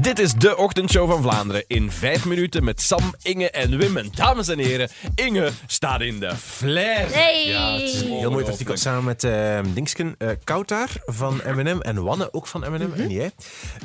Dit is de ochtendshow van Vlaanderen in vijf minuten met Sam, Inge en Wim. En dames en heren, Inge staat in de flair. Hey! Heel mooi artikel samen met eh Dingsken. eh Koutaar van M&M en Wanne ook van M&M Mhm. en jij.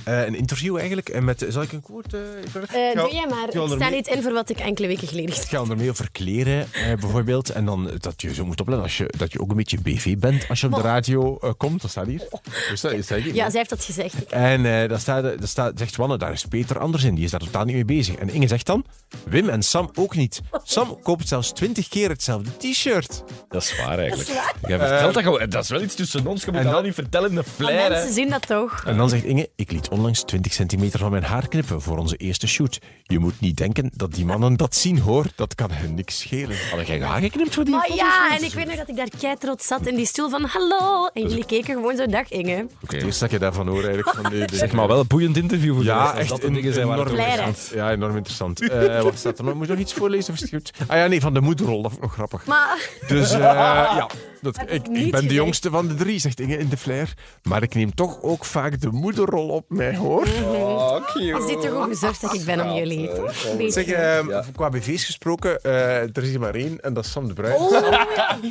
Eh, een interview eigenlijk. En met, zal ik een quote? eh, Eh, Ga- doe jij maar. ga Ik er sta mee- niet in voor wat ik enkele weken geleden Ik ga er mee over kleren eh, bijvoorbeeld. En dan eh, dat je zo moet opletten als je, dat je ook een beetje BV bent als je op de radio eh, komt. Dat staat hier. Dus dat, dat staat hier. Ja, zij heeft dat gezegd. Ik- En eh, daar staat, daar staat, zegt Wanne, daar is Peter anders in. Die is daar totaal niet mee bezig. En Inge zegt dan, Wim en Sam ook niet. Sam koopt zelfs twintig keer hetzelfde t-shirt. Dat is waar eigenlijk. Jij vertelt dat gewoon. Eh, Dat is wel iets tussen ons. Je moet Eh. dat en wel dan- niet vertellen in de Maar flair. hè. Oh, mensen zien dat toch? En dan zegt Inge, ik liet onlangs 20 centimeter van mijn haar knippen voor onze eerste shoot. Je moet niet denken dat die mannen dat zien, hoor. Dat kan hen niks schelen. Hadden jij je haar geknipt voor die? Maar ja, en ik weet nog dat ik daar kei trots zat in die stoel van hallo. En jullie keken gewoon zo, dag Inge. Het eerste dat je daarvan hoor, eigenlijk. Van de, de- Zeg maar wel een boeiend interview voor de rest, Ja, als echt dat de een, dingen zijn waar het enorm over gaat. Flair, hè? interessant. Ja, enorm interessant. Eh, wat staat er nog? Moet je nog iets voorlezen? Of is het goed? Ah ja, nee, van de moederrol. Dat vond ik nog grappig. Maar Dus eh, ja, dat, Heb ik niet ik, ik ben gedacht. de jongste van de drie, zegt Inge in de flair. Maar ik neem toch ook vaak de moederrol op mij, hoor. Mm. is dit toch hoe bezorgd dat ik ben om jullie? Zeg, Beetje. eh, qua BV's gesproken, eh, er is er maar één en dat is Sam de Bruin.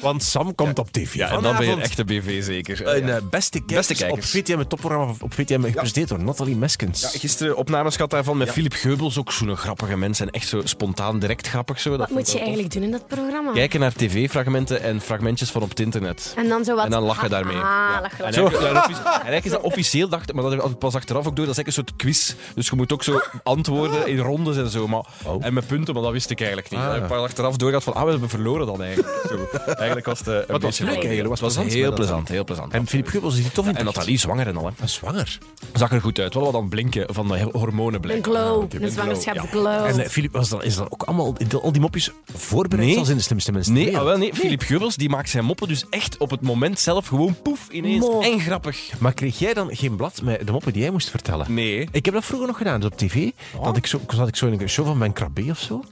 Want Sam komt op tv Ja, en dan ben je een echte BV zeker. Een eh, beste, kijkers Beste kijkers. op VTM, het topprogramma op VTM, gepresenteerd door Nathalie Meskens. Gisteren opnames gehad daarvan met Philip Geubels, ook zo'n grappige mensen. En echt zo spontaan, direct grappig. Zo. Dat Wat vond ik moet je wel tof. eigenlijk doen in dat programma? Kijken naar tv-fragmenten en fragmentjes van op het internet. En dan zo wat... En dan lach je daarmee. Ah, Ja. lach je En wat. eigenlijk, ja, dat is- en eigenlijk is dat officieel, dacht, maar dat heb ik pas achteraf ook door, dat is eigenlijk een soort quiz. Dus je moet ook zo antwoorden in rondes en zo. Maar, Oh. En met punten, maar dat wist ik eigenlijk niet. Ik heb pas achteraf doorgehad van, ah, we hebben verloren dan eigenlijk. Zo. Eigenlijk was het eh, een was beetje leuk leuk. eigenlijk, Het was was plezant heel met dat. plezant, heel plezant. En Filip Gubbels is die tof in En Nathalie zwanger en al, hè. Zwanger. Zag er goed uit. Wel wat aan het blinken van de he- hormonen Een blijkbaar. glow, Een een glow, ja. zwangerschapsglow. En eh, Filip was dan, is dan ook allemaal, al die mopjes voorbereid, Nee. zoals in de slimste mensen. ter Nee, ah, wereld. wel, nee. Philip Gubbels die maakt zijn moppen dus echt op het moment zelf gewoon poef ineens. Mo. En grappig. Maar kreeg jij dan geen blad met de moppen die jij moest vertellen? Nee. Oh. Ik heb dat vroeger nog gedaan, dus op tv. Dat ik zo, zat ik zo in een show van mijn krabbe of zo.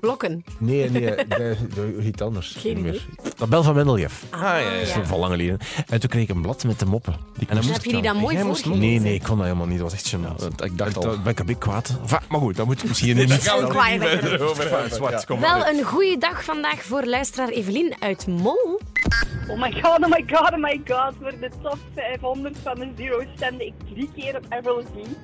Blokken. Nee, nee, bij- bij- iets anders. Geen Niet meer. Tabel van Mendeljeff. Ah, ja, ja, ja. Dat is van lang geleden. En toen kreeg ik een blad met de moppen. Die en moest Heb je die dan mooi voorgelezen? Nee, nee, ik kon dat helemaal niet. Dat was echt gênant. dat- ik dacht En al. toen ben ik een beetje kwaad. Enfin, maar goed, dat moet ik misschien niet gaan we vertellen. kwaad hebben. Zwart, kom Wel maar. een goede dag vandaag voor luisteraar Evelien uit Mol. Oh my god, oh my god, oh my god. Voor de top 500 van de Zero stemde ik drie keer op Avril Lavigne.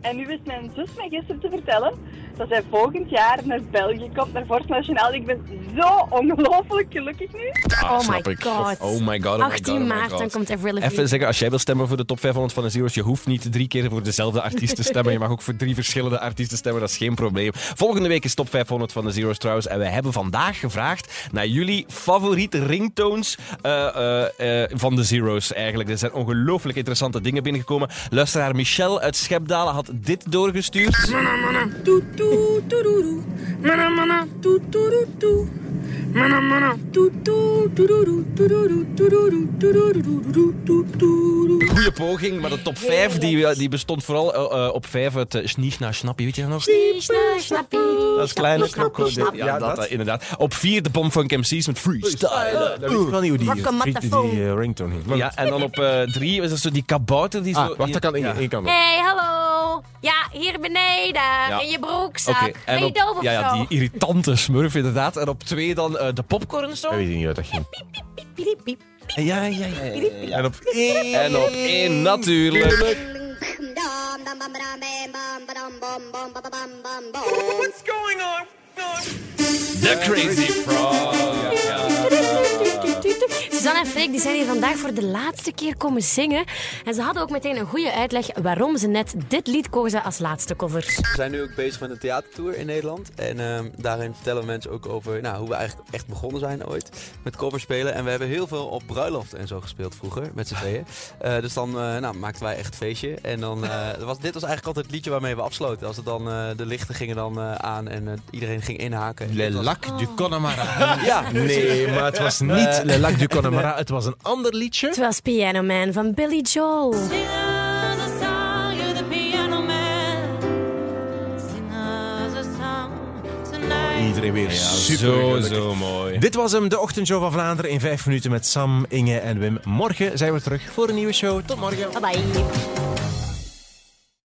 En nu wist mijn zus mij gisteren te vertellen dat zij volgend jaar naar België komt, naar Vorst Nationaal. Ik ben zo ongelooflijk gelukkig nu. Ah, Oh snap my ik. god. Oh my god. Oh my god, 18 oh my maart, god. dan komt Avril Even Lavigne. zeggen, als jij wil stemmen voor de top 500 van de Zero's, je hoeft niet drie keer voor dezelfde artiest te stemmen. Je mag ook voor drie verschillende artiesten stemmen, dat is geen probleem. Volgende week is top 500 van de Zero's trouwens. En wij hebben vandaag gevraagd naar jullie favoriete ringtones eh, eh, eh, van de Zero's eigenlijk. Er zijn ongelooflijk interessante dingen binnengekomen. Luisteraar Michel uit Schepdalen had dit doorgestuurd. Goeie poging, maar de top 5 die, die bestond vooral eh, eh, op 5 uit uh, Schniechna Schnappie. Weet je dat nog? Dat is kleine krokodil. Ja, dat, eh, inderdaad. Op 4 de Bom van MC's met Freestyle. Dat weet ik wel niet hoe die, Wakker met de die, phone. eh, ringtone heeft. Maar Ja, en dan op 3 is dat zo die kabouter die goed. zo... Ah, wacht, dat kan één Ja. één kant op. Hey, hallo. Ja, hier beneden. In je broekzak. Oké, ben en je op- doof of ja, ja, zo? die irritante smurf inderdaad. En op 2 dan eh, de Dat popcornsong. weet ik niet uit dat ging. Piep, piep. Ja, ja, ja. ja, ja. En op één. En op 1 natuurlijk. The Crazy Frog. Suzanne en Freek die zijn hier vandaag voor de laatste keer komen zingen. En ze hadden ook meteen een goede uitleg waarom ze net dit lied kozen als laatste cover. We zijn nu ook bezig met een theatertour in Nederland. En ehm, daarin vertellen we mensen ook over nou, hoe we eigenlijk echt begonnen zijn ooit met coverspelen. En we hebben heel veel op bruiloft en zo gespeeld vroeger, met z'n tweeën. Eh, dus dan eh, nou, maakten wij echt een feestje. En dan, eh, was, dit was eigenlijk altijd het liedje waarmee we afsloten. Als het dan, eh, de lichten gingen dan eh, aan en eh, iedereen ging inhaken. En dit was- Lac du Connemara. Ja, Nee, maar het was niet Le Lac du Connemara. Het was een ander liedje. Het was Piano Man van Billy Joel. Iedereen weer Zo, zo mooi. Dit was hem, de ochtendshow van Vlaanderen in 5 minuten met Sam, Inge en Wim. Morgen zijn we terug voor een nieuwe show. Tot morgen. Bye bye.